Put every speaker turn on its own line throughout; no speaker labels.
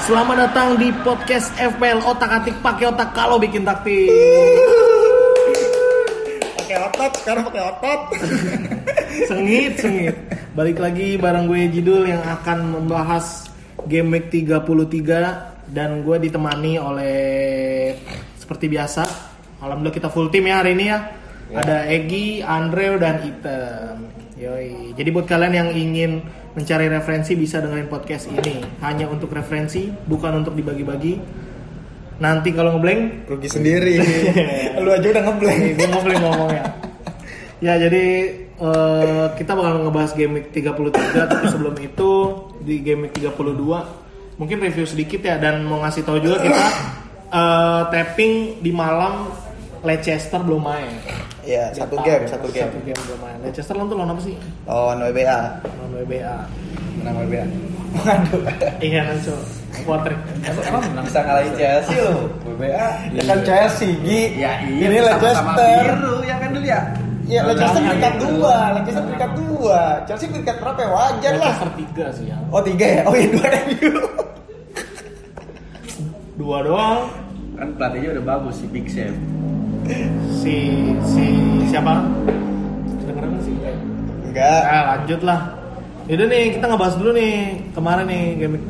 Selamat datang di podcast FPL Otak Atik pakai otak kalau bikin taktik.
pakai otot sekarang pakai otot
Sengit, sengit. Balik lagi bareng gue Jidul yang akan membahas game week 33 dan gue ditemani oleh seperti biasa. Alhamdulillah kita full team ya hari ini ya. Ada Egi, Andreu dan Item. Yoi. Jadi buat kalian yang ingin mencari referensi bisa dengerin podcast ini. Hanya untuk referensi, bukan untuk dibagi-bagi. Nanti kalau ngeblank
rugi sendiri lu aja udah ngeblank
Nih, gue mau beli ngomongnya. Ya, jadi eh, kita bakal ngebahas game week 33, tapi sebelum itu di game week 32 mungkin review sedikit ya dan mau ngasih tahu juga kita eh, tapping di malam Leicester belum main.
ya satu game satu game
belum main. Leicester lawan tuh lawan apa sih?
lawan WBA
Lawan WBA.
menang WBA waduh
Iya, Nanco. Water.
Emang menang
bisa ngalahin Chelsea lu WBA ya kan Chelsea Gi
iya. Ya iya.
ini
sama-sama
Leicester
biru ya kan dulu ya.
ya Leicester
Sama
peringkat
gitu.
dua Leicester peringkat dua Chelsea peringkat berapa ya wajar lah
Leicester 3 sih ya.
oh tiga ya oh iya dua MU
Dua doang.
Kan pelatihnya udah bagus si Big Sam.
Si si siapa? Kedengeran nggak sih?
enggak
Nah, lanjut lah. Yaudah nih, kita ngebahas dulu nih kemarin nih game week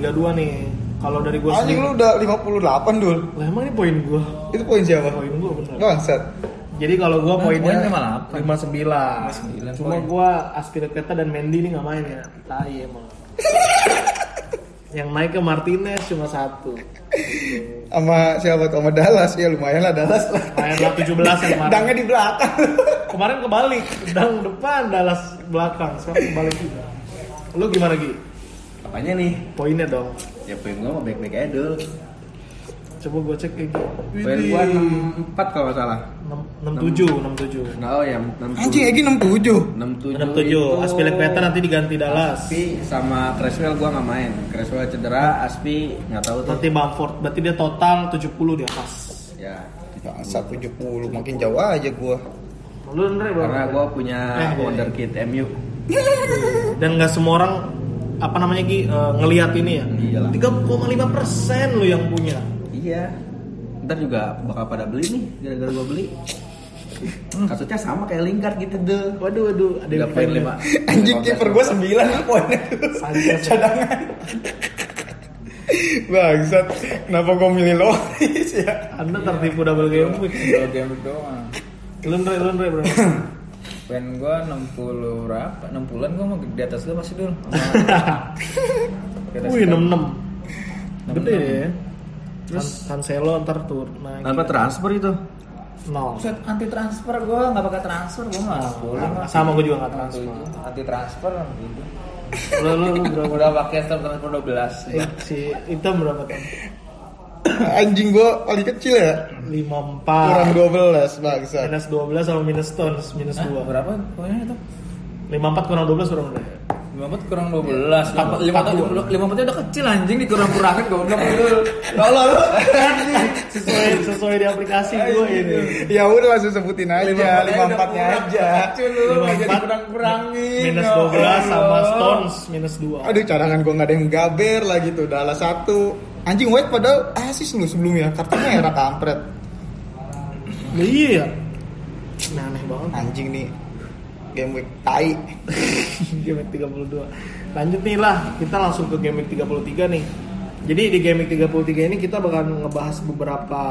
32 nih. Kalau dari gua
anjing lu
sendiri,
udah 58 dul
lah emang ini poin gua. Eh,
itu poin siapa
Poin gua bener.
bangsat
Jadi kalau gua
Nah,
poinnya
poin 58.
59.
59
Cuma
poin.
gua Aspilicueta dan Mendy ini nggak main ya. Tai emang. Yang naik ke Martinez cuma satu.
sama siapa tuh sama Dallas ya lumayan lah Dallas lah
Main lah 17 yang kemarin.
dangnya di belakang
Kemarin kebalik, dang depan, Dallas belakang. Sekarang kebalik juga. Lu gimana Gi?
Apanya nih?
Poinnya dong.
Ya poin gua mau baik-baik aja dulu.
Coba gua cek Gi.
Poin gua 64 kalau nggak salah.
67, 67.
Enggak oh ya 60.
anjing eh. Egi 67
67.
67 Aspilicueta nanti diganti Dallas
Aspi sama Creswell gua nggak main. Creswell cedera, Aspi nggak tahu tuh.
nanti Bamford berarti dia total 70 di atas
Ya.
Bangsat 70 makin jauh aja gua
lu Andre bro
Karena gua punya
Eh, iya,
wonderkid MU.
dan nggak semua orang apa namanya Gi eh, ngelihat ini ya
Iyalah.
3,5 persen lu yang punya
Iya. Ntar juga bakal pada beli nih gara-gara gua beli.
Hmm.
Kasusnya sama kayak Lingard gitu deh.
waduh waduh ada
Udah
yang
poin
keren.
lima.
anjing kiper gua 9 lu poinnya
Sanchez.
cadangan Bangsat kenapa gua milih Loris ya
anda tertipu double game week
Dua game doang.
lu Andre lu Andre bro
Pen gua 60 berapa? 60-an gua mau di atas lu masih dulu.
wih 66 gede
66.
ya terus Cancelo ntar tur naik
Tanpa transfer itu.
nol
Set anti transfer gua enggak pakai transfer gua mah. Boleh mah.
sama gue juga nggak transfer
Anti transfer gitu.
lu lu, lu berapa
Udah pakai stop transfer 12.
Eh, si hitam berapa tuh?
anjing gua paling kecil ya
54
kurang 12 bangsat
minus 12 sama minus Stones minus
Hah,
2
berapa poinnya itu?
54 kurang 12 kurang berapa?
54 kurang 12. Lima- lima-
Empat dua.
lima- 54 udah kecil anjing dikurang-kurangin goblok lu.
Ya
Tolol lu.
sesuai sesuai di aplikasi gue ini
ya udah langsung sebutin aja 54 nya aja
Kecil lu, nggak jadi
54,
kurang-kurangin.
minus
Ya
12 sama
Allah.
Stones minus 2
aduh cadangan gua nggak ada yang gaber lagi tuh Dallas satu anjing White padahal asis lu sebelumnya kartu merah kampret
Lah iya ya nah, aneh banget
anjing nih game week tai
game week 32 lanjut nih lah kita langsung ke game week 33 nih jadi di game week 33 ini kita bakal ngebahas beberapa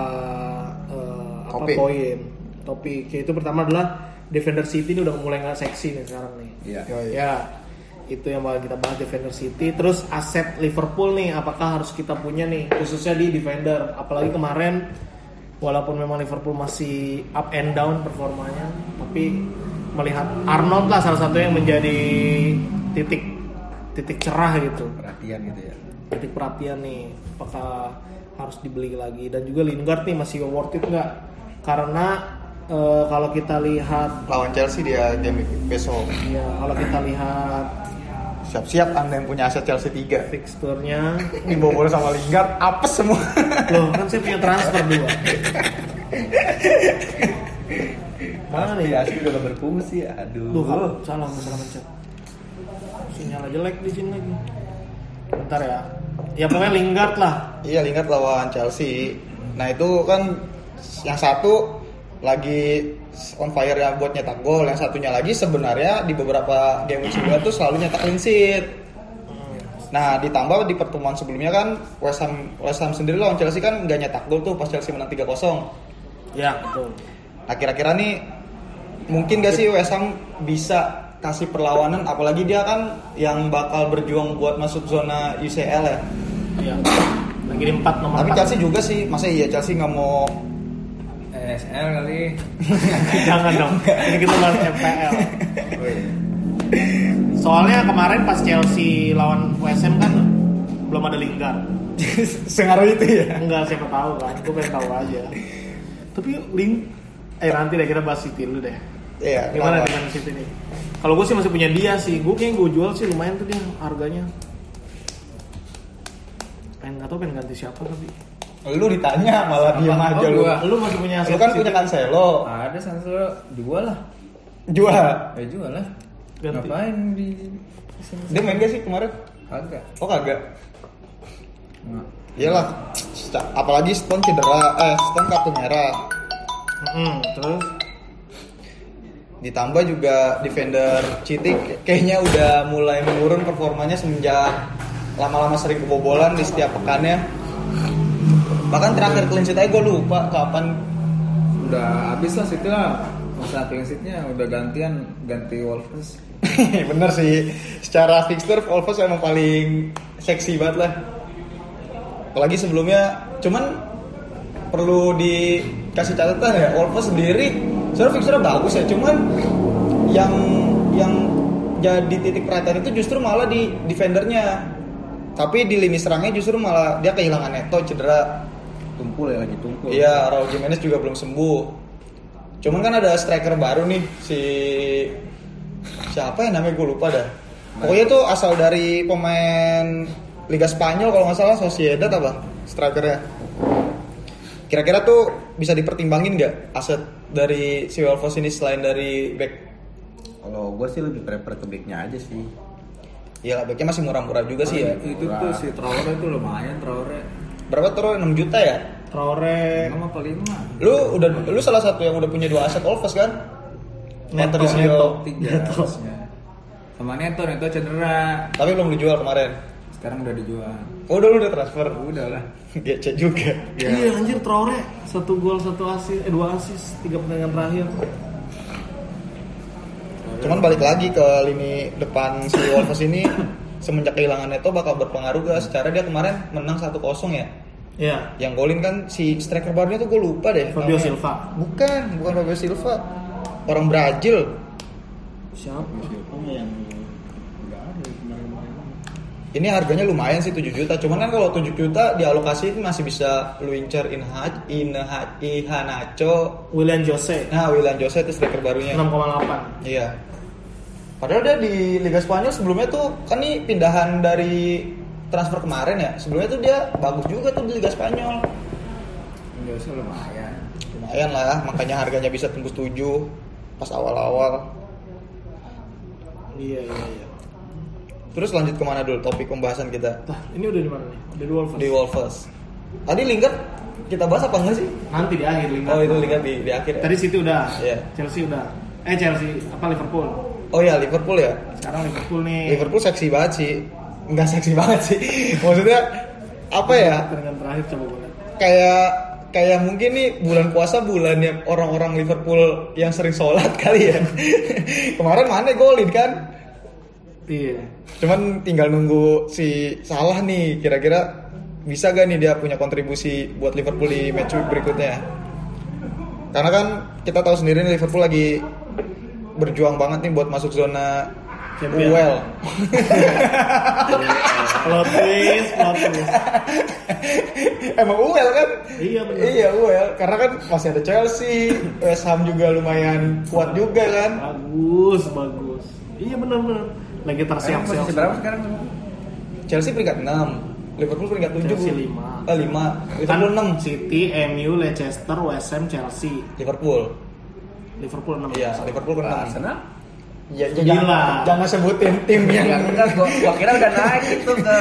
eh, apa
Topik.
poin topik yaitu pertama adalah Defender City ini udah mulai nggak seksi nih sekarang nih
Iya.
Ya, itu yang bakal kita bahas Defender City. Terus aset Liverpool nih, apakah harus kita punya nih, khususnya di defender. Apalagi kemarin, walaupun memang Liverpool masih up and down performanya, tapi melihat Arnold lah salah satu yang menjadi titik titik cerah gitu,
Perhatian gitu ya.
titik perhatian nih. Apakah harus dibeli lagi? Dan juga Lingard nih masih worth it nggak? Karena eh, kalau kita lihat,
lawan Chelsea dia game week besok
ya kalau kita lihat
siap-siap anda yang punya aset Chelsea 3
fixturnya
dibobol sama Lingard apes semua
loh kan saya punya transfer dua mana nih
Ya, Aspi udah gak berfungsi. Aduh.
Duh, salah salah mencet sinyalnya jelek di sini lagi Bentar ya. Ya pokoknya Lingard lah.
Iya Lingard lawan Chelsea. Nah itu kan yang satu lagi on fire ya buat nyetak gol, yang satunya lagi sebenarnya di beberapa game week sebelumnya tuh selalu nyetak clean sheet. Nah ditambah di pertemuan sebelumnya kan West Ham, West Ham sendiri lawan Chelsea kan nggak nyetak gol tuh pas Chelsea menang 3-0.
Ya, betul.
Nah kira-kira nih mungkin gak sih West Ham bisa kasih perlawanan apalagi dia kan yang bakal berjuang buat masuk zona UCL ya.
Iya. Lagi di 4 nomor
Tapi
4.
Chelsea juga sih, masa iya Chelsea nggak mau
NSL kali.
Jangan dong. Ini kita bahas FPL. Soalnya kemarin pas Chelsea lawan USM kan belum ada Lingard.
Sengaruh itu ya.
Enggak siapa tahu kan. Gue pengen tahu aja. Tapi Ling eh nanti deh kita bahas City dulu deh.
Iya.
Gimana
lawan.
dengan City nih? Kalau gue sih masih punya dia sih. Gue kayaknya gue jual sih lumayan tuh dia harganya. Pengen nggak tahu pengen ganti siapa tapi.
Lu ditanya malah diam
Apa?
aja
Oh,
lu.
gua.
Nah, Lu masih punya
Lu kan punya Cancelo.
Oh.
Ada Sansel jual lah.
Jual.
Ya jual lah.
Ganti.
Ngapain di di sini?
Dia main gak sih kemarin?
Kagak.
Oh kagak.
Nggak.
Iyalah. Ca- Apalagi Stone cedera, eh Stone kartu merah.
Mm-mm, terus
Ditambah juga defender Citi kayaknya udah mulai menurun performanya semenjak lama-lama sering kebobolan di setiap pekannya. Bahkan terakhir clean sheet aja gue lupa kapan
Udah habis lah situ lah. Masa clean sheet-nya udah gantian ganti Wolves.
Bener sih, secara fixture Wolves emang paling seksi banget lah. Apalagi sebelumnya, cuman perlu dikasih catatan ya, Wolves sendiri sebenarnya fixture bagus ya, cuman yang yang jadi titik perhatian itu justru malah di defendernya. Tapi di lini serangnya justru malah dia kehilangan Neto cedera.
Tumpul ya lagi tumpul.
Iya, Raul Jimenez juga belum sembuh. Cuman kan ada striker baru nih si siapa ya namanya gue lupa dah. Pokoknya tuh asal dari pemain Liga Spanyol kalau nggak salah Sociedad apa strikernya. Kira-kira tuh bisa dipertimbangin nggak aset dari si Wolves ini selain dari back?
Kalau gue sih lebih prefer ke backnya aja sih.
Ya backnya masih murah-murah juga sih
Ah,
ya.
Iya,
Iya.
Itu tuh si Traore itu lumayan Traore.
Berapa tuh 6 juta ya?
Eh.
Traore
Lima apa lima?
Lu udah lu salah satu yang udah punya dua aset Wolves kan?
Neto,
Patricio.
Neto.
Tiga harusnya. Sama Neto, Neto cedera.
Tapi belum dijual kemarin.
Sekarang udah dijual.
Oh, udah lu udah transfer.
Udah lah.
Gece juga.
Iya anjir Traore satu gol satu asis eh dua asis tiga pertandingan terakhir.
Cuman balik lagi ke lini depan si Wolves ini semenjak kehilangan Neto bakal berpengaruh gak secara dia kemarin menang 1-0 ya.
Iya.
Yang golin kan si striker barunya tuh gue lupa deh.
Fabio
namanya.
Silva.
Bukan, bukan Fabio Silva. Orang Brazil.
Siapa? Oh, yang
Ini harganya lumayan sih 7 juta. Cuman kan kalau 7 juta dialokasiin masih bisa lu incer Inha- Inha- Ihanacho.
William Jose
Nah, William Jose itu striker barunya.
6,8.
Iya. Padahal dia di Liga Spanyol sebelumnya tuh kan nih pindahan dari transfer kemarin ya. Sebelumnya tuh dia bagus juga tuh di Liga Spanyol.
Indonesia lumayan.
Lumayan lah, makanya harganya bisa tembus 7 pas awal-awal.
Iya iya iya.
Terus lanjut kemana dulu topik pembahasan kita
Nah, ini udah di mana nih? Udah di Wolves.
di Wolves. Tadi Lingard kita bahas apa enggak sih?
Nanti di akhir Lingard.
Oh itu Lingard di, di akhir ya.
Tadi City udah.
Iya.
Chelsea udah. Eh Chelsea apa Liverpool? Nah,
Oh ya Liverpool ya.
Sekarang Liverpool nih.
Liverpool seksi banget sih. Enggak seksi banget sih. Maksudnya apa ya?
Pertandingan terakhir coba gue lihat.
kayak kayak mungkin nih bulan puasa bulan yang orang-orang Liverpool yang sering sholat kali ya kemarin mana golin kan
Iya.
cuman tinggal nunggu si salah nih kira-kira bisa gak nih dia punya kontribusi buat Liverpool di match week berikutnya karena kan kita tahu sendiri nih Liverpool lagi berjuang banget nih buat masuk zona
Champion.
UEL
Eh, Plot twist, plot twist.
Emang UEL kan?
Iya, benar.
Iya UEL karena kan masih ada Chelsea, West Ham juga lumayan kuat juga kan.
Bagus, bagus. Iya benar-benar. Lagi
Siap,
tersiap-siap.
posisi berapa sekarang?
Chelsea peringkat 6, Liverpool peringkat 7.
Chelsea lima.
Eh 5.
Kan
Liverpool
6 City, MU, Leicester, West Ham, Chelsea,
6. Liverpool.
Liverpool 6.
Iya, Liverpool ke
Kan.
Nah,
6.
Arsenal?
Ya, ya,
Gila.
jangan, jangan sebutin tim yang
Ya, enggak, gua, gua kira udah naik itu ke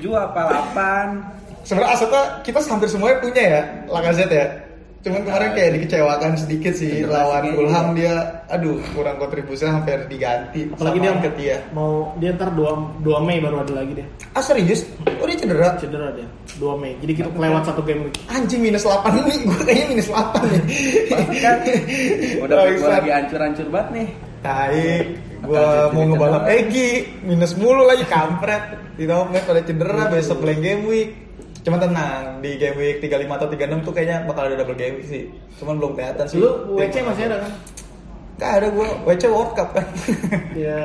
7 apa 8
sebenarnya asetnya kita hampir semuanya punya ya Lacazette ya cuman kemarin kayak dikecewakan sedikit sih
Cedera
lawan
sih kayaknya.
Fulham dia aduh kurang kontribusinya hampir diganti
Apalagi
sama
dia
Angkat dia
mau dia ntar 2, 2 Mei baru ada lagi dia.
ah serius oh dia cedera
Cedera dia. 2 Mei. Jadi kita lewat satu game week.
anjing minus 8 nih gue kayaknya minus 8 nih
Pasti kan udah
Oh,
gua
Iksan.
lagi hancur-hancur banget nih
Taik gue
Akan jadi
mau ngebalap
cedera.
Egi minus mulu lagi kampret di net pada cedera besok play game week Cuman tenang, di game week 35 atau 36 tuh kayaknya bakal ada double game week sih Cuman belum kelihatan sih
Lu WC masih ada kan?
Gak ada gue, WC World Cup kan
Ya,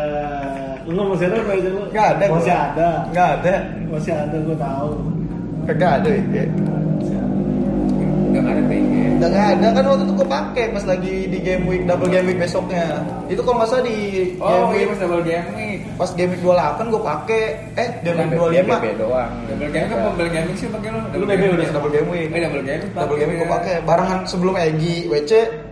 lu nggak masih ada apa itu lu?
Gak ada
Masih
gua.
ada.
Gak ada
Masih ada gua tahu.
Gak ada ya
Gak ada TG.
Gak ada kan waktu itu gue pakai pas lagi di game week, double game week besoknya Itu kalau nggak salah di game
iya,
Oh, ini
week
pas double game nih.
Pas game week 28 gue pakai Eh, game week
Dia BB
25
doang
Double game kan double gaming sih pakai lo.
Lu BB udah double game week
Eh double game.
Double game week gue pakai Barengan sebelum Egi WC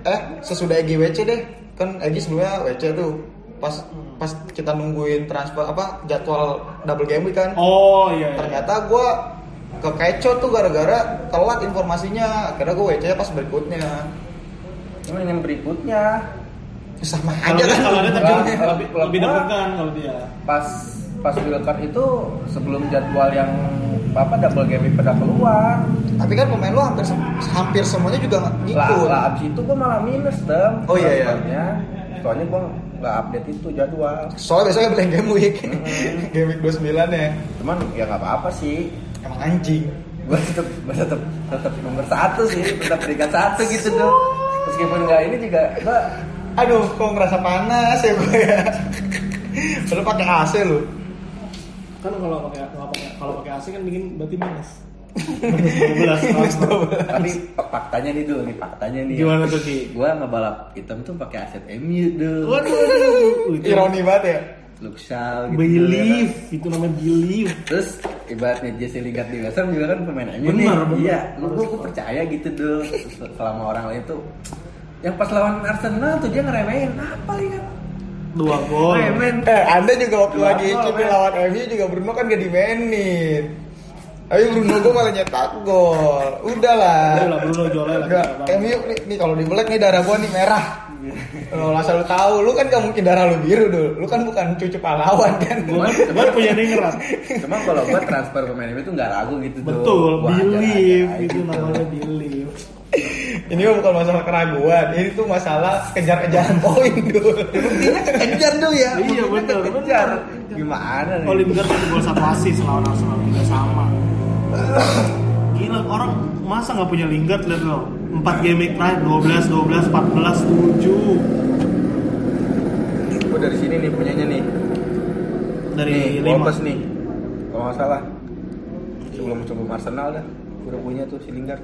Eh, sesudah Egi WC deh Kan Egi sebelumnya WC tuh Pas pas kita nungguin transfer apa jadwal double game week kan
Oh iya. iya.
ternyata gue kekecoh tuh gara-gara telat informasinya akhirnya gue WC pas berikutnya
Cuman yang berikutnya
sama
Kalau
aja
dia
kan
kalau dia tapi
Kalau-
lebih-
kalau-
lebih
kalau
lebih
gua-
deg-degan kalau dia.
pas pas wild card itu sebelum jadwal yang apa double game week pada keluar
tapi kan pemain lo hampir sem- hampir semuanya juga
lah
ngikut
lah abis itu gua malah minus dong
Oh, iya, iya.
soalnya soalnya gua nggak update itu jadwal
soalnya besoknya beli game week
Hmm.
game week 29 ya
cuman ya nggak apa-apa sih
emang anjing
gue tetap gua tetap tetap nomor satu sih tetap peringkat satu gitu tuh meskipun nggak ini juga gua
aduh kok ngerasa panas ya gue ya Padahal pakai AC lu
Kan kalau pakai kalau pakai kalau pakai AC kan bikin berarti minus. Minus 12.
Minus 12.
tapi faktanya nih dulu nih faktanya nih
Gimana tuh Ki?
gue ngebalap hitam tuh pakai aset MU dulu
Waduh, waduh. Itu
ironi banget ya
Luxal gitu
Believe, itu namanya believe.
Terus ibaratnya Jesse Lingard di West Ham juga kan pemain MU nih.
Benar, benar.
Iya, lu gua, gua percaya gitu dulu selama orang lain tuh yang pas lawan Arsenal tuh dia ngeremehin apa ya?
Dua gol.
Remen.
eh anda juga waktu
Dua
lagi
gol,
cuti
men.
lawan MU juga Bruno kan gak dimainin Ayo Bruno gue malah nyetak gol udahlah
Udah lah, Bruno jualnya lah.
Enggak, MU nih, nih kalau di black nih darah gua nih merah.
Iya.
Lo asal lu tahu, lu kan gak mungkin darah lu biru dulu. Lu kan bukan cucu pahlawan kan.
Gua kan- gua punya dengeran.
Cuma kalau gua transfer pemain MU tuh nggak ragu gitu tuh.
Betul,
Gua ajar-ajar
believe
aja
itu
gitu.
namanya believe.
Ini mah bukan masalah keraguan, ini tuh masalah kejar-kejaran poin dulu.
Buktinya kejar dulu ya.
Iya,
buktinya
benar,
kejar.
benar.
Gimana nih?
Oh, Lingard satu gol satu asis lawan Arsenal tiga sama. Gila orang masa nggak punya Lingard lihat lo. 4 game week terakhir 12 12 14 7
Gua dari sini nih punyanya nih.
dari
Iya,
nih,
5.
Wolves nih. Kalau nggak salah. Sebelum sebelum Arsenal dah. Udah punya tuh si Lingard.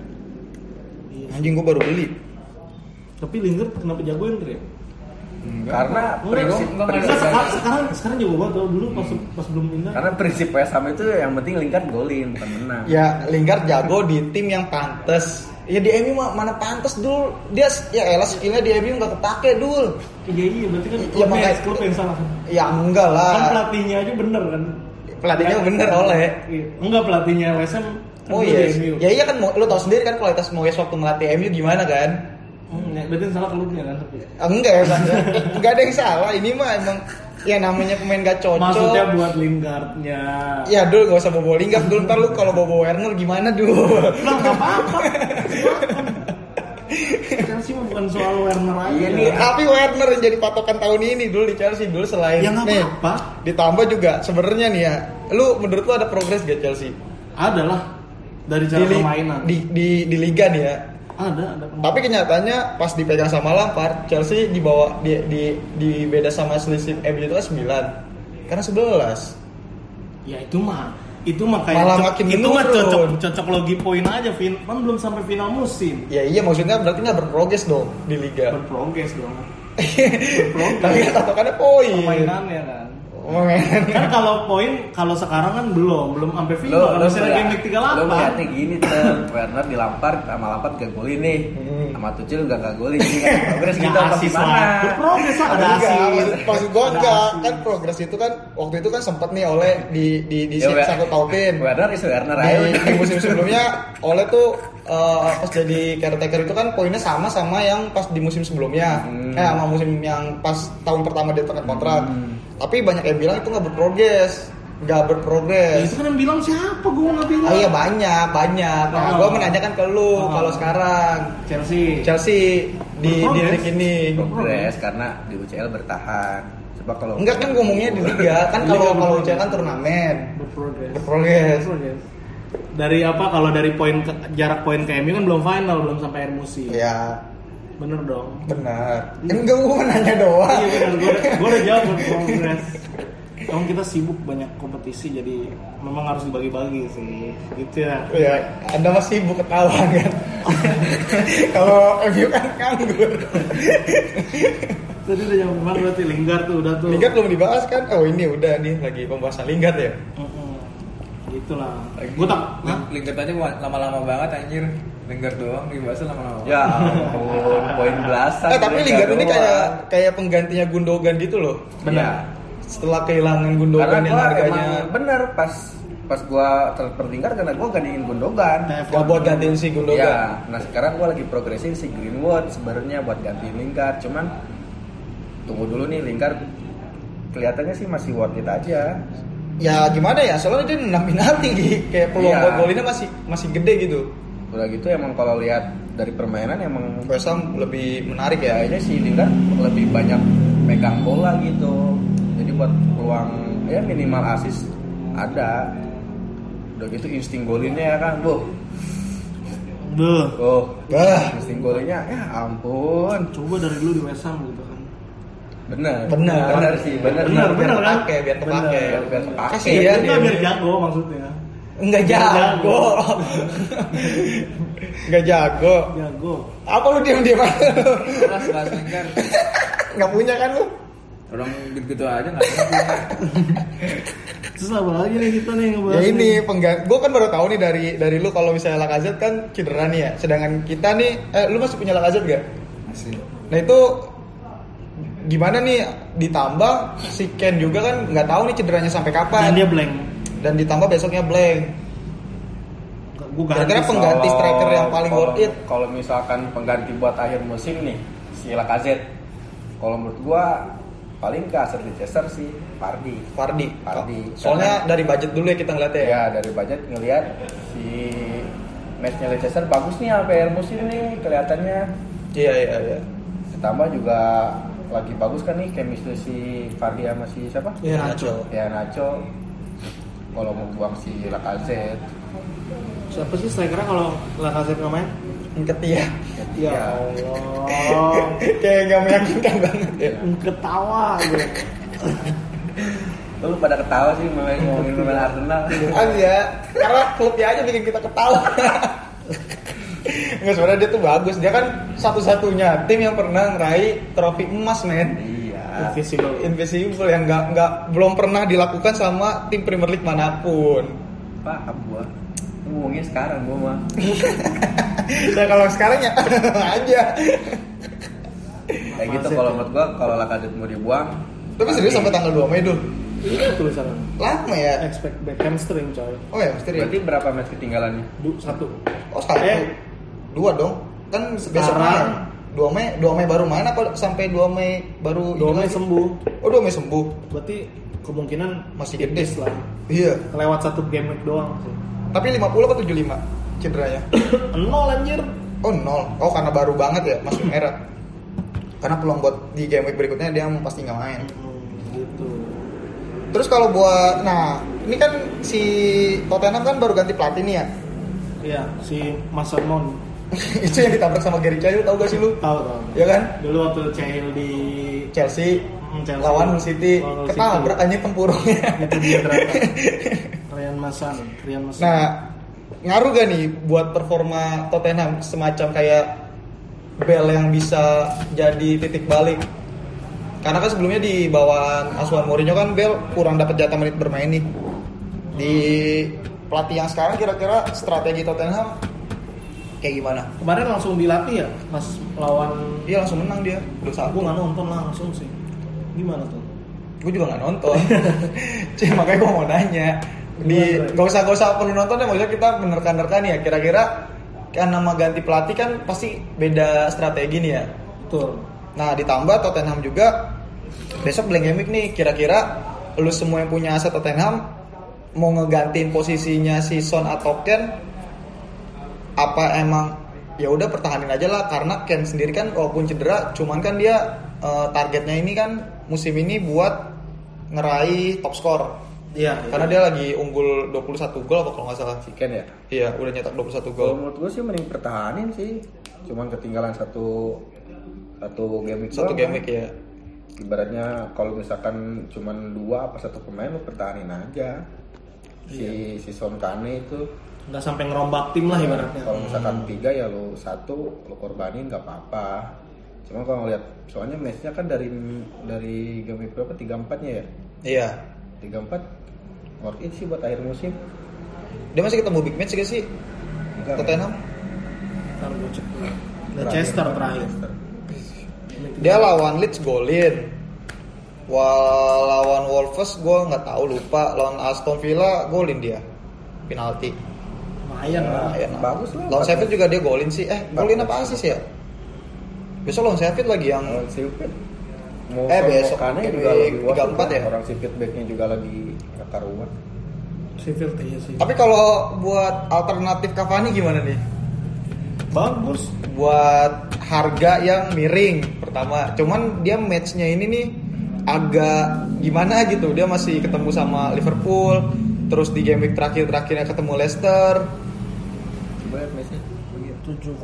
Iya.
Anjing gua baru beli.
Tapi Lingard kenapa jagoin Dre?
Karena prinsip,
Enggak,
Enggak,
prinsip-
sekarang sekarang sekarang jago banget loh. dulu pas pas belum pindah.
karena prinsip West Ham itu yang penting Lingard golin bukan menang.
Ya, Lingard jago di tim yang pantas. Ya di MU mah mana pantas dul. Dia ya elah skillnya di MU nggak kepake dul.
Iya iya berarti kan
Iya,
klub yang-
makanya-
klub yang salah.
Ya enggak
Kan
lah.
pelatihnya aja bener kan.
Pelatihnya bener oleh.
Iya. Enggak pelatihnya West Ham kan
Oh
dulu
iya,
di MU.
ya iya kan Mo- lu tau sendiri kan kualitas Moyes waktu melatih MU gimana kan?
Hmm, ya, berarti yang salah klubnya kan tapi.
Enggak ya, Bang. Enggak ada yang salah. Ini mah emang ya namanya pemain gak cocok.
Maksudnya buat Lingardnya.
Ya dul gak usah bobo lingkar dul ntar lu kalau bobo Werner gimana dul
Lah nggak apa-apa. Chelsea mah bukan soal Werner aja.
Iya nih.
Tapi Werner yang jadi patokan tahun ini dul di Chelsea dul selain
Ya nggak
nih,
apa-apa.
ditambah juga sebenarnya nih ya lu menurut lu ada progres gak Chelsea
Adalah dari cara
li-
permainan.
di, di, di liga nih ya
Ada ada. pemain.
tapi kenyataannya pas dipegang sama Lampard Chelsea dibawa di, di, di beda sama selisih MU itu kan 9 karena 11
Ya itu mah itu mah kayak
Malah
cocok-
makin
itu mah
menurun.
cocok cocok logi poin aja Vin. Kan belum sampai final musim.
Ya iya maksudnya berarti nggak berprogres dong di liga. Iya.
Berprogres dong.
Tapi kan patokannya poin.
Permainannya kan. kan kalau poin kalau sekarang kan belum belum sampai final kalau misalnya game week
Lo
38
melihatnya gini, Ter. Werner dilampar sama Lampard gak golin nih.
Hmm.
Sama Tuchel gak gak golin. Jadi nggak ada progres
Nggak
gitu
Nah,
apa
asis
gimana?
lah progres lah ada
Enggak,
asis
maksud, maksud gua
Ada
enggak
asis.
kan progres itu kan waktu itu kan sempet nih oleh di di di
Ya, Wer-
satu tautin Iya,
Werner is Werner
di,
aja.
di musim sebelumnya oleh tuh eh, pas jadi caretaker itu kan poinnya sama sama yang pas di musim sebelumnya
Hmm.
eh sama musim yang pas tahun pertama dia tekan kontrak tapi banyak yang bilang itu nggak berprogres nggak
Ya, itu
berprogres
kan yang bilang siapa gue nggak bilang
oh iya banyak banyak nah,
Oh.
gua menanyakan ke lu
Oh.
kalau sekarang
Chelsea
Chelsea di di
Berprogres.
league ini
Progres karena di UCL bertahan. Coba kalau
enggak kan ngomongnya di liga kan
Liga
kalau kalau
berprogres.
UCL kan turnamen
berprogres
berprogres
Berprogres. dari apa kalau dari poin ke- jarak poin ke MU kan belum final belum sampai akhir musim
ya
bener dong
benar enggak gua nanya doang
iya bener gue gue udah jawab berprogres Emang kita sibuk banyak kompetisi jadi memang harus dibagi-bagi sih gitu ya
Ya, Anda masih sibuk ketawa kan. Kalau MU kan nganggur.
Tadi udah jawab kemarin berarti Lingard tuh udah tuh.
Lingard belum dibahas kan? Oh ini udah nih lagi pembahasan Lingard ya.
Mm-mm. Gitulah. Gue tak. Hah?
Lingkar aja wa- lama-lama banget anjir. Lingkar doang dibahasnya lama-lama.
Ya ampun, poin belasan.
Eh tapi
mereka
Lingard ini
doang.
kayak kayak penggantinya Gundogan gitu loh.
Benar.
Setelah kehilangan
Karena
Gundogan yang
gua
harganya
emang bener pas pas gua transfer Lingard karena gua gantiin Gundogan.
nggak buat gantiin si Gundogan.
Iya, nah sekarang gua lagi progresin si Greenwood sebenarnya buat gantiin Lingard, cuman tunggu dulu nih Lingard kelihatannya sih masih worth it aja.
Ya gimana ya? Soalnya dia nendang penalti Gi. kayak peluang
Iya.
buat golinnya masih masih gede gitu.
Udah gitu emang kalau lihat dari permainan emang
West Ham lebih menarik ya.
kayaknya si Lingard lebih banyak megang bola gitu. Jadi buat peluang ya minimal assist ada. Udah gitu insting golinnya ya kan, Wah,
Duh.
Oh,
Bah,
insting golinnya ya ampun.
Coba dari dulu di West Ham gitu kan.
Bener.
Bener.
Bener sih, bener.
Bener,
biar
bener kan?
kepake, biar kepake.
Biar biar kepake. Iya,
Kasih ya.
Itu biar jago maksudnya.
Enggak jago. Enggak jago.
Jago.
Apa lu diam-diam aja lu?
Kelas kelas lingkar.
Enggak punya kan lu?
Orang gitu-gitu aja nggak punya.
Terus apa lagi nih kita nih ngebahas?
Ya ini
nih?
pengganti. Gue kan baru tahu nih dari dari lu kalau misalnya Lakazet kan cedera nih ya. Sedangkan kita nih, eh, lu masih punya Lakazet gak?
Masih.
Nah itu gimana nih ditambah si Ken juga kan nggak tahu nih cederanya sampai kapan.
Dan dia blank.
Dan ditambah besoknya blank.
Gue ganti.
Kira-kira
sih.
pengganti
Kalau-
striker yang paling
kalau-
worth it.
Kalau misalkan pengganti buat akhir musim nih, si Lacazette. Kalau menurut gua paling ke aset Leicester sih, Pardi.
Fardi.
Vardy.
Soalnya dari budget dulu ya kita ngeliatnya ya.
Ya dari budget ngelihat si matchnya Leicester bagus nih sampai akhir musim nih kelihatannya.
Iya iya iya.
Ditambah juga lagi bagus kan nih chemistry si Pardi sama si siapa?
Ya,
Iya,
Nacho.
Ya Nacho. Kalau mau buang si Lacazette.
Siapa sih strikernya kalau Lacazette nggak main?
Ketia.
Ya
Ya.
Allah.
Kayak nggak meyakinkan banget ya.
Ketawa gue.
Lu pada ketawa sih mulai ngomongin pemain Arsenal.
Kan ya, karena klubnya aja bikin kita ketawa. Enggak sebenarnya dia tuh bagus. Dia kan satu-satunya tim yang pernah ngeraih trofi emas, men. Ah.
Iya.
Invisible.
Invisible yang nggak nggak belum pernah dilakukan sama tim Premier League manapun.
paham gua Lu ngomongnya sekarang gua mah
Nah kalau sekarang ya aja.
kayak gitu kalau menurut gua kalau Lacazette mau dibuang
Tapi serius sampai tanggal 2 Mei dulu.
Itu tulisannya.
Lama ya.
Expect back hamstring coy.
Oh ya, misteri.
berarti berapa match ketinggalannya
Du satu.
Oh sekarang
Eh.
dua dong. Kan besok
Sekarang.
main. 2 Mei, 2 Mei baru main apa sampai 2 Mei baru ini
Dome
lagi?
sembuh.
Oh 2 Mei sembuh.
Berarti kemungkinan
Masih
tipis
gede.
lah.
Iya.
Lewat satu game week doang sih.
Tapi 50 apa 75 cederanya?
Nol anjir.
Oh nol. Oh karena baru banget ya masuk merah. Karena peluang buat di game week berikutnya dia pasti nggak main.
gitu.
Terus kalau buat nah ini kan si Tottenham kan baru ganti pelatih nih ya.
Iya, si Mason Mount.
Itu yang ditabrak sama Gary Cahill tau gak sih lu?
Tahu tahu.
Ya kan?
Dulu waktu Cahill di
Chelsea,
Hmm, Chelsea.
lawan Man City
Lawan Man City.
ketabrak anjir tempurungnya.
itu dia ternyata. Rian Masan, Rian Masan.
Nah, ngaruh gak nih buat performa Tottenham semacam kayak Bell yang bisa jadi titik balik? Karena kan sebelumnya di bawaan asuhan Mourinho kan Bel kurang dapat jatah menit bermain nih. Di pelatih yang sekarang kira-kira strategi Tottenham kayak gimana?
Kemarin langsung dilatih ya, Mas lawan
Iya langsung menang dia. Dosa
aku nggak nonton langsung sih. Gimana tuh?
gue juga nggak nonton Cuy, makanya gue mau nanya di
Gimana, Bray?
nggak usah nggak usah perlu nonton ya maksudnya kita menerka-nerka nih ya kira-kira kan nama ganti pelatih kan pasti beda strategi nih ya
Betul.
nah ditambah Tottenham juga besok Blank nih kira-kira lu semua yang punya aset Tottenham mau ngegantiin posisinya si Son atau Ken apa emang ya udah pertahanin aja lah karena Ken sendiri kan walaupun cedera cuman kan dia eh, targetnya ini kan musim ini buat ngeraih top skor
Iya.
karena dia lagi unggul 21 gol apa kalau nggak salah
Chicken ya.
iya udah nyetak 21
Kalau
gol
menurut gue sih mending pertahanin sih. Cuman ketinggalan satu satu game week.
satu
doang,
game
kan.
week ya
Ibaratnya kalau misalkan cuman dua apa satu pemain lu pertahanin aja. Si si Son Kane itu
Nggak sampai ngerombak tim lah Iya, ibaratnya.
kalau misalkan tiga ya lu satu lu korbanin nggak apa-apa. Cuman kalau ngeliat soalnya matchnya kan dari dari game week berapa tiga empatnya ya
iya
tiga empat worth it sih buat akhir musim.
dia masih ketemu big match gak sih
Enggak,
Tottenham
Ntar gue cek dulu.
terakhir.
Leicester terakhir.
dia lawan Leeds golin Wal lawan Wolves gue nggak tahu lupa lawan Aston Villa golin dia penalti
Lumayan lah.
Lumayan lah.
Nah, ya, bagus lah.
lawan Sheffield juga dia golin sih eh golin apa asis ya besok lawan Sheffield lagi yang
Orang sipit. Mau
Eh, besok
Kane
game
juga
week
lebih
34
was
ya?
Orang sipit backnya juga lagi kata rumah.
Sheffield iya sih.
tapi kalau buat alternatif Cavani gimana nih
Bagus.
buat harga yang miring pertama cuman dia matchnya ini nih agak gimana gitu dia masih ketemu sama Liverpool terus di game week terakhir-terakhirnya ketemu Leicester
Coba lihat matchnya. Begini.
7,9.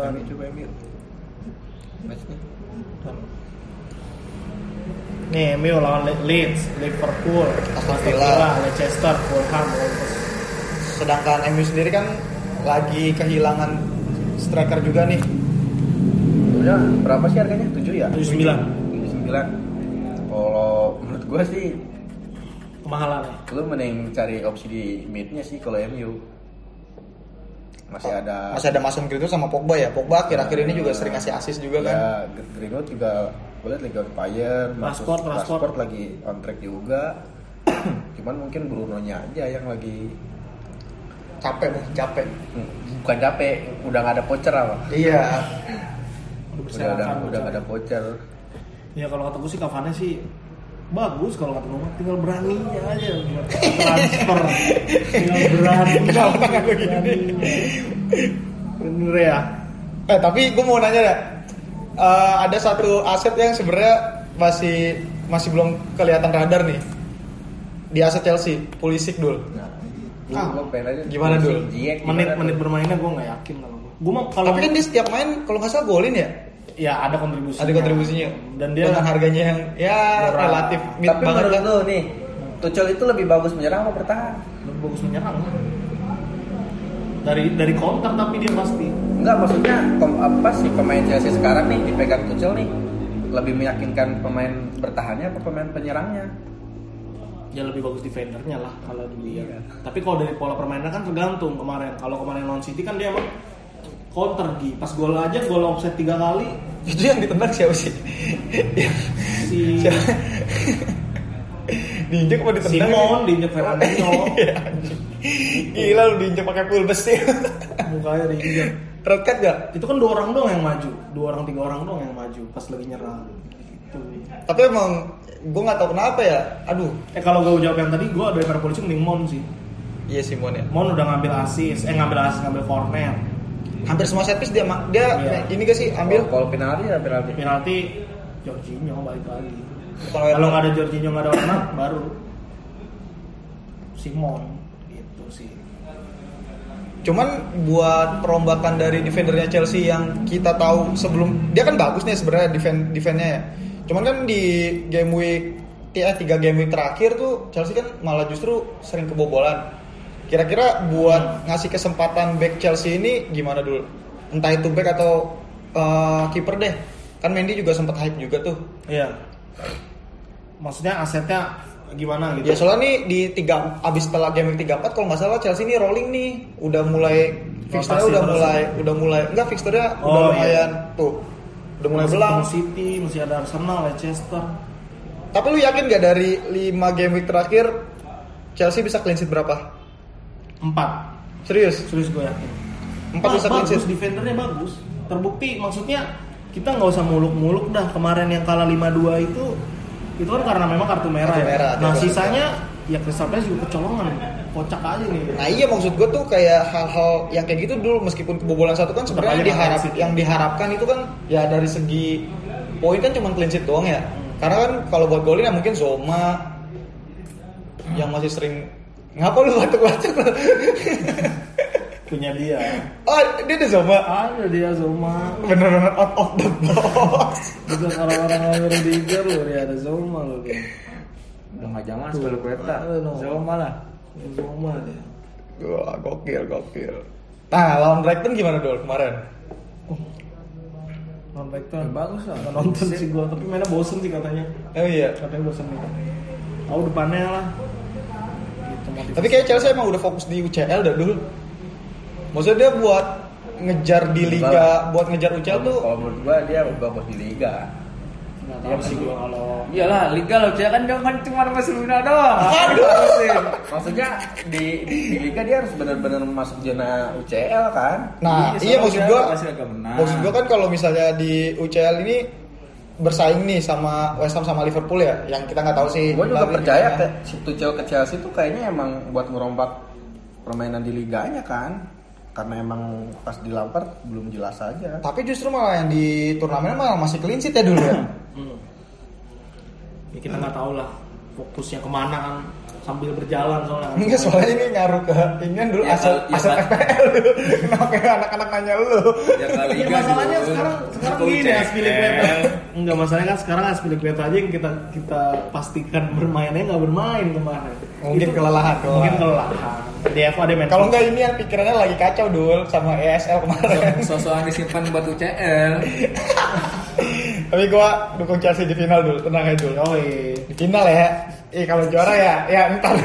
Kami coba yang lihat. Matchnya.
Nih, MU lawan Le- Leeds, Liverpool,
Aston Villa.
Leicester, Fulham, Wolves.
sedangkan MU sendiri kan lagi kehilangan striker juga nih
Udah, berapa sih harganya? 7 ya?
79.
79. Kalau menurut gua sih
Kemahalan ya.
lu mending cari opsi di midnya sih kalau MU. Masih ada
masih ada Mason Greenwood sama Pogba ya Pogba akhir-akhir ini juga sering ngasih assist juga kan
Ya, Greenwood juga gue liat Liga Fire,
Rashford, Rashford.
lagi on track juga. Cuman mungkin Bruno-nya aja yang lagi
capek Bu, capek
Hmm, bukan capek, udah gak ada voucher apa?
iya
Udah ada,
berserakan,
udah gak ada
berserakan.
voucher.
Ya kalau kata gue sih Cavani sih bagus kalau kata gue mah. tinggal beraninya aja buat transfer. tinggal berani.
Kenapa tangan lu gini?
Beraninya. Bener ya.
eh tapi gue mau nanya ya ada satu aset yang sebenarnya masih masih belum kelihatan radar nih di aset Chelsea Pulisic dulu
Nah,
Ah,
gua pengen aja
Iya, gimana, Dul?
Ziyech gimana
Menit-menit
tuh?
bermainnya gue nggak yakin kalau gue. Gue mah kalau
tapi kan dia setiap main kalau nggak salah golin ya
ya ada kontribusinya.
ada kontribusinya
Dan dia
dengan harganya yang ya
Murah.
relatif mid
Tapi
banget
menurut
kan
lu nih, Tuchel itu lebih bagus menyerang apa bertahan?
lebih bagus menyerang. Dari dari counter tapi dia pasti.
Enggak, maksudnya kom- apa sih pemain Chelsea sekarang nih dipegang Tuchel nih lebih meyakinkan pemain bertahannya apa pemain penyerangnya?
ya lebih bagus defendernya lah kalau dilihat. Tapi kalau dari pola permainan kan tergantung kemarin. Kalau kemarin lawan City kan dia emang counter Gi. Pas gol aja gol offset tiga kali
itu yang ditendang siapa sih
si
diinjek apa ditendang
Simon diinjek Fernandinho
Iya, anjing. gila lu diinjek pakai full besi
mukanya diinjek.
red card gak
Itu kan dua orang doang yang maju, dua orang tiga orang doang yang maju pas lagi nyerang. Gitu.
tapi emang gue nggak tahu kenapa ya aduh
Eh kalau gue jawab yang tadi, gue daripada polisi mending Mon sih.
iya Simon ya
Mon udah ngambil asis, eh ngambil asis ngambil corner.
hampir semua set piece dia ma- dia
Iya.
ini gak sih ambil
kalau penalti ya penalti.
Penalti Jorginho balik lagi.
kalau
Kalau nggak ada Jorginho nggak ada Werner baru Simon gitu sih.
Cuman buat perombakan dari defendernya Chelsea yang kita tahu sebelum dia kan bagus nih sebenarnya defend defendnya ya. Cuman kan di game week eh, tiga game week terakhir tuh Chelsea kan malah justru sering kebobolan. Kira-kira buat ngasih kesempatan back Chelsea ini gimana dulu? Entah itu back atau eh, kiper deh. Kan Mendy juga sempat hype juga tuh.
Iya. Maksudnya asetnya gimana gitu?
Ya soalnya nih di tiga abis setelah game week 34 kalau nggak salah Chelsea ini rolling nih udah mulai fixture
Rotasi
udah
terus.
mulai udah mulai enggak fixture-nya
Oh,
udah
iya.
lumayan tuh udah mulai
Masih
belang.
ketemu City, masih ada Arsenal, Leicester.
Tapi lu yakin gak dari 5 game week terakhir Chelsea bisa clean sheet berapa?
Empat.
Serius?
Serius gue yakin. Ba-
Empat bisa clean sheet.
bagus, defendernya bagus. Terbukti maksudnya kita nggak usah muluk-muluk dah kemarin yang kalah 5-2 itu itu kan karena memang kartu merah,
Kartu merah,
ya. Nah
kartu
sisanya ya Crystal Palace juga kecolongan, kocak aja nih.
Nah iya maksud gue tuh kayak hal-hal yang kayak gitu dulu meskipun kebobolan satu kan
Tetap
sebenarnya
aja
diharap
clean sheet.
yang diharapkan itu kan ya dari segi poin kan cuma clean sheet doang ya. Karena kan kalau buat golin ya mungkin Zoma yang masih sering ngapa lu batuk-batuk lu?
Punya dia.
Oh dia ada Zoma.
Ada dia Zoma.
Bener-bener out of the box.
Bukan orang-orang yang Rudiger loh, dia ya, ada Zoma loh dia.
Udah nggak zaman sebelum kereta.
Aduh, no.
Jauh malah.
Ada Zoma dia.
Wah gokil gokil. Nah lawan Brighton gimana dulu kemarin?
Non Brighton.
Ya, bagus lah.
Nggak nonton sih gua, tapi mainnya bosen sih katanya.
Oh iya.
Katanya bosen nih. Tahu depannya lah. Gitu, motivasi.
Tapi kayak Chelsea emang udah fokus di UCL dah dulu. Maksudnya dia buat ngejar di liga,
Enggak.
buat ngejar UCL tuh
Kalau menurut gua dia bagus di liga.
nggak tahu Iya sih gua kalau
Iyalah, liga loh, Cek. kan jangan cuma Barcelona doang.
Maksudnya di, di liga dia harus benar-benar masuk zona UCL kan?
Nah, iya
Iya, soalnya
maksud
UCL
gua.
pasti agak menang.
Maksud gua kan kalau misalnya di UCL ini bersaing nih sama West Ham sama Liverpool ya, yang kita nggak tahu sih.
Gue juga
Tapi
percaya
gimana.
ke Tuchel ke Chelsea tuh kayaknya emang buat ngerombak permainan di liganya kan. Karena emang pas di Lampard belum jelas aja.
Tapi justru malah yang di turnamen malah masih clean sheet ya dulu ya.
hmm. ya kita nggak tahu lah fokusnya kemana kan sambil berjalan soalnya kan.
Enggak soalnya ini ngaruh ke ini kan dulu
Ya,
asal
kalau- ya,
asal
Pak.
FPL dulu. Kenapa ya anak-anak nanya lu?
Ya
Iya masalahnya sekarang sekarang gini
Eh.
Aspilicueta. Enggak masalahnya kan sekarang Aspilicueta aja yang kita kita pastikan bermainnya nggak bermain kemarin.
Oh, Mungkin kelelahan doang.
Mungkin kelelahan. DFA dia main.
Kalau enggak ini yang pikirannya lagi kacau dul sama ESL kemarin.
Sosokan disimpan buat UCL.
Tapi gua dukung Chelsea di final dulu, tenang aja dulu.
oh
Di final ya. Eh kalau juara ya, ya entar.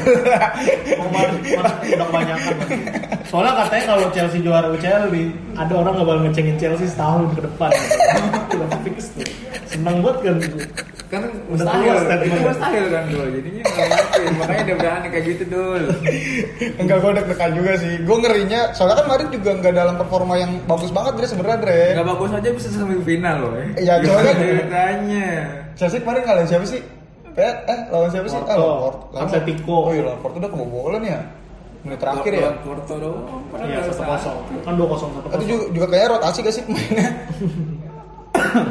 udah kebanyakan. Mas. Soalnya katanya kalau Chelsea juara UCL nih, ada orang nggak bakal ngecengin Chelsea setahun ke depan. Udah fix tuh. Seneng banget kan.
Kan
Udah
mustahil,
keluar statement.
itu mustahil kan dulu. Jadinya nggak ngerti. Makanya dia berani kayak gitu dul.
Enggak gua deg-degan juga sih. Gua ngerinya soalnya kan Madrid juga enggak dalam performa yang bagus banget Dre sebenarnya Dre.
Nggak bagus aja bisa semifinal loh. ya.
Iya, cuman kan-
ceritanya.
Chelsea kemarin kalian siapa sih? Eh, eh lawan siapa sih? Ah,
Porto.
lawan Porto. Lawan-
Atletico.
Oh iya, lawan Porto udah kebobolan ya. Menit terakhir ya.
Lawan Porto doang.
Iya, satu kosong. Kan dua kosong satu
Itu
kosong.
juga, juga kayak rotasi gak sih pemainnya?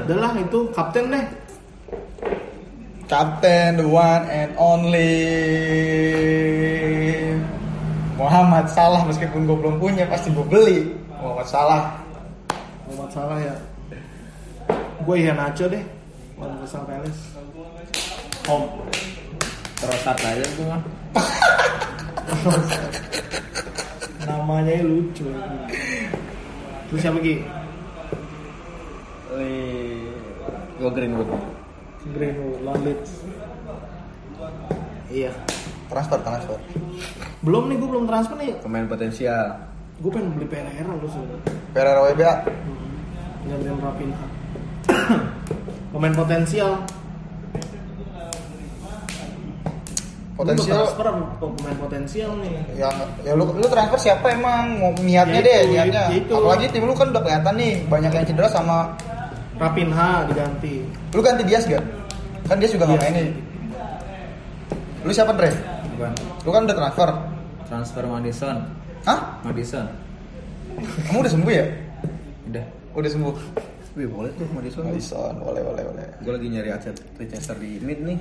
Udah lah itu kapten deh.
Kapten the one and only Muhammad Salah meskipun gue belum punya pasti gue beli Muhammad Salah
Kalau salah ya. Gue Iheanacho deh. Lawan Crystal Palace. Om.
Terotat aja tuh mah.
Namanya ya lucu. ya. Terus siapa lagi?
Gue Greenwood.
Greenwood, lawan Leeds. Iya.
transfer transfer
Belum nih, gue belum transfer nih.
Pemain potensial.
Gue pengen beli Pereira lu sebenernya.
Pereira WBA
Gak beli Rapinha. Pemain potensial. Lu
potensial
transfer apa pemain potensial nih.
yang ya lu, lu transfer siapa emang mau
Ya
niatnya
itu,
deh niatnya
ya itu.
apalagi tim lu kan udah kelihatan nih banyak yang cedera sama
Rapinha diganti. Iya.
lu ganti Dias gak kan Dias juga nggak
Dias.
main nih lu siapa Dre
Bukan.
lu kan udah transfer
Transfer Madison.
hah
Madison.
kamu udah sembuh ya
Udah.
udah sembuh
Wih boleh tuh Madison.
Alisson boleh boleh boleh
Gue lagi nyari aset Leicester di mid nih.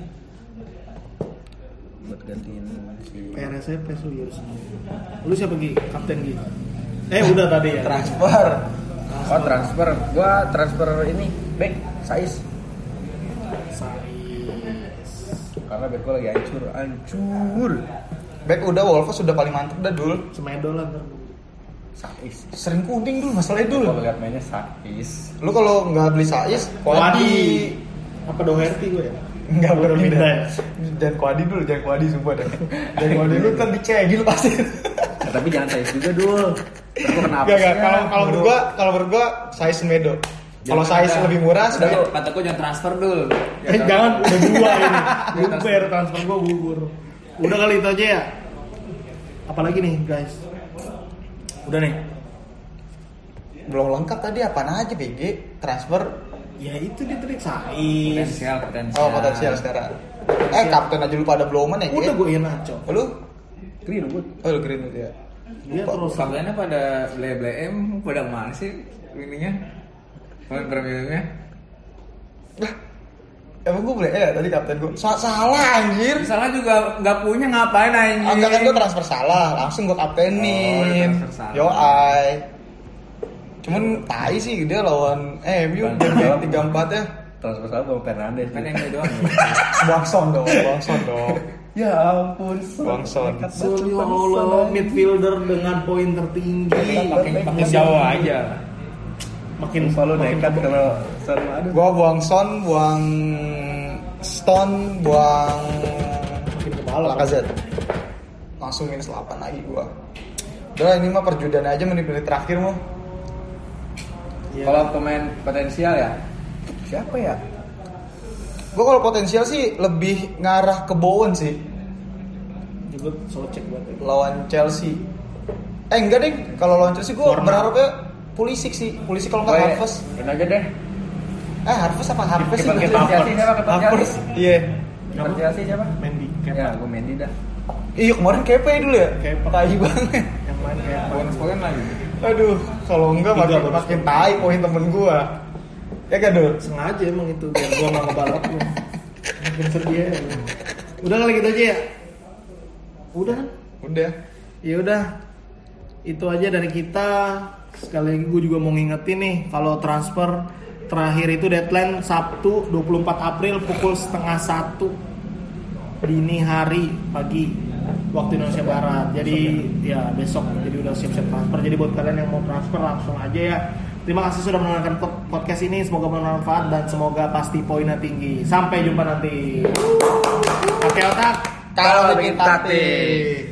Buat gantiin si
PRSP Suyers. Lu siapa Gi? Kapten Gi? Eh udah tadi ya.
transfer
Oh transfer, gua transfer ini back size
Sais.
karena back gua lagi hancur, hancur.
back udah Wolves sudah paling mantep dah dul
Semedo lah ntar.
Sais.
sering kuning dul masalahnya dul
Kalau lihat mainnya Sais.
lu kalau nggak beli Saiz
Wadi.
Wadi
Apa Doherty gue ya?
Enggak
Belum pindah.
berpindah. Dan kuadi dulu, jangan kuadi sumpah deh. Dan kuadi dulu kan dicegil pasti.
Nah, tapi jangan saya juga dul. Aku kenapa?
Enggak enggak. Kalau kalau menurut gua, kalau menurut gua size medo. Kalau size lebih murah
sudah
sudah. ya.
kataku jangan transfer dulu.
Eh, jangan udah dua ini. Bubar transfer gua gugur. Udah kali itu aja ya. Apalagi nih guys. Udah nih.
Belum lengkap tadi apaan aja BG transfer
Ya itu dia tadi Saiz.
Potensial, potensial.
oh potensial sekarang. Eh kapten aja lupa ada Blowman ya. Ge?
Udah gue ya Nacho.
Lu?
Green Wood.
Oh, lu green ya.
Dia terus
Fabiannya pada bleh-bleh em pada mana sih ininya? Premiumnya?
Emang gue boleh ya tadi kapten gue salah anjir.
Misalnya juga nggak punya ngapain anjing?
Ah, Enggak kan gue transfer salah, langsung gue kaptenin.
Oh, transfer salah.
Yo ay. Cuman tai sih dia lawan eh MU
Bang,
dia
jawab.
tiga empat ya.
Transfer sama Bang Fernandes.
Kan yang itu doang.
Bangson dong, bangson dong.
Ya ampun.
Bangson.
ya
Zulio ya Allah midfielder dengan poin tertinggi.
Pakai pakai Jawa aja.
Makin
Selalu
makin
nekat kalau sama aduh.
Gua buang Son, buang Stone, buang
makin kepala.
Lacazette. Langsung minus 8 lagi gua. Udah ini mah perjudian aja menit-menit terakhir mau.
Iya.
Kalau pemain potensial ya,
Siapa ya?
Gua kalau potensial sih lebih ngarah ke Bowen sih
juga socek buat gue.
lawan Chelsea. Eh enggak deh, kalau lawan Chelsea
Warna. Oh,
gua
iya.
berharapnya Pulisic sih. Pulisic kalau enggak Harvest.
udah aja deh.
Eh Harvest apa Harvest sih?
Kiper- kiper Iya, Havertz.
Harvest.
siapa? Ketua
Harvest.
Chelsea?
Iya.
Ketua Chelsea siapa?
Mendy
Ya,
Kepa
gue Mendy dah.
Iya kemarin kepe dulu ya.
Kepe.
Tai banget.
yang main kayak
Bonus poin lagi.
Aduh, kalau enggak
Tiga
makin
baru
makin
score.
tai poin temen gua. Ya kan, Dul?
sengaja emang itu biar gua nggak ngebalap lu. Makin sedih ya. Udah kali gitu aja ya. Udah kan?
Udah.
Ya udah. Itu aja dari kita. Sekali lagi gue juga mau ngingetin nih kalau transfer terakhir itu deadline Sabtu 24 April pukul setengah satu dini hari pagi waktu Indonesia Barat. Jadi ya besok jadi udah siap-siap transfer. Jadi buat kalian yang mau transfer langsung aja ya. Terima kasih sudah menonton pod- podcast ini. Semoga bermanfaat dan semoga pasti poinnya tinggi. Sampai jumpa nanti. Pakai otak.
Kalau bikin taktik.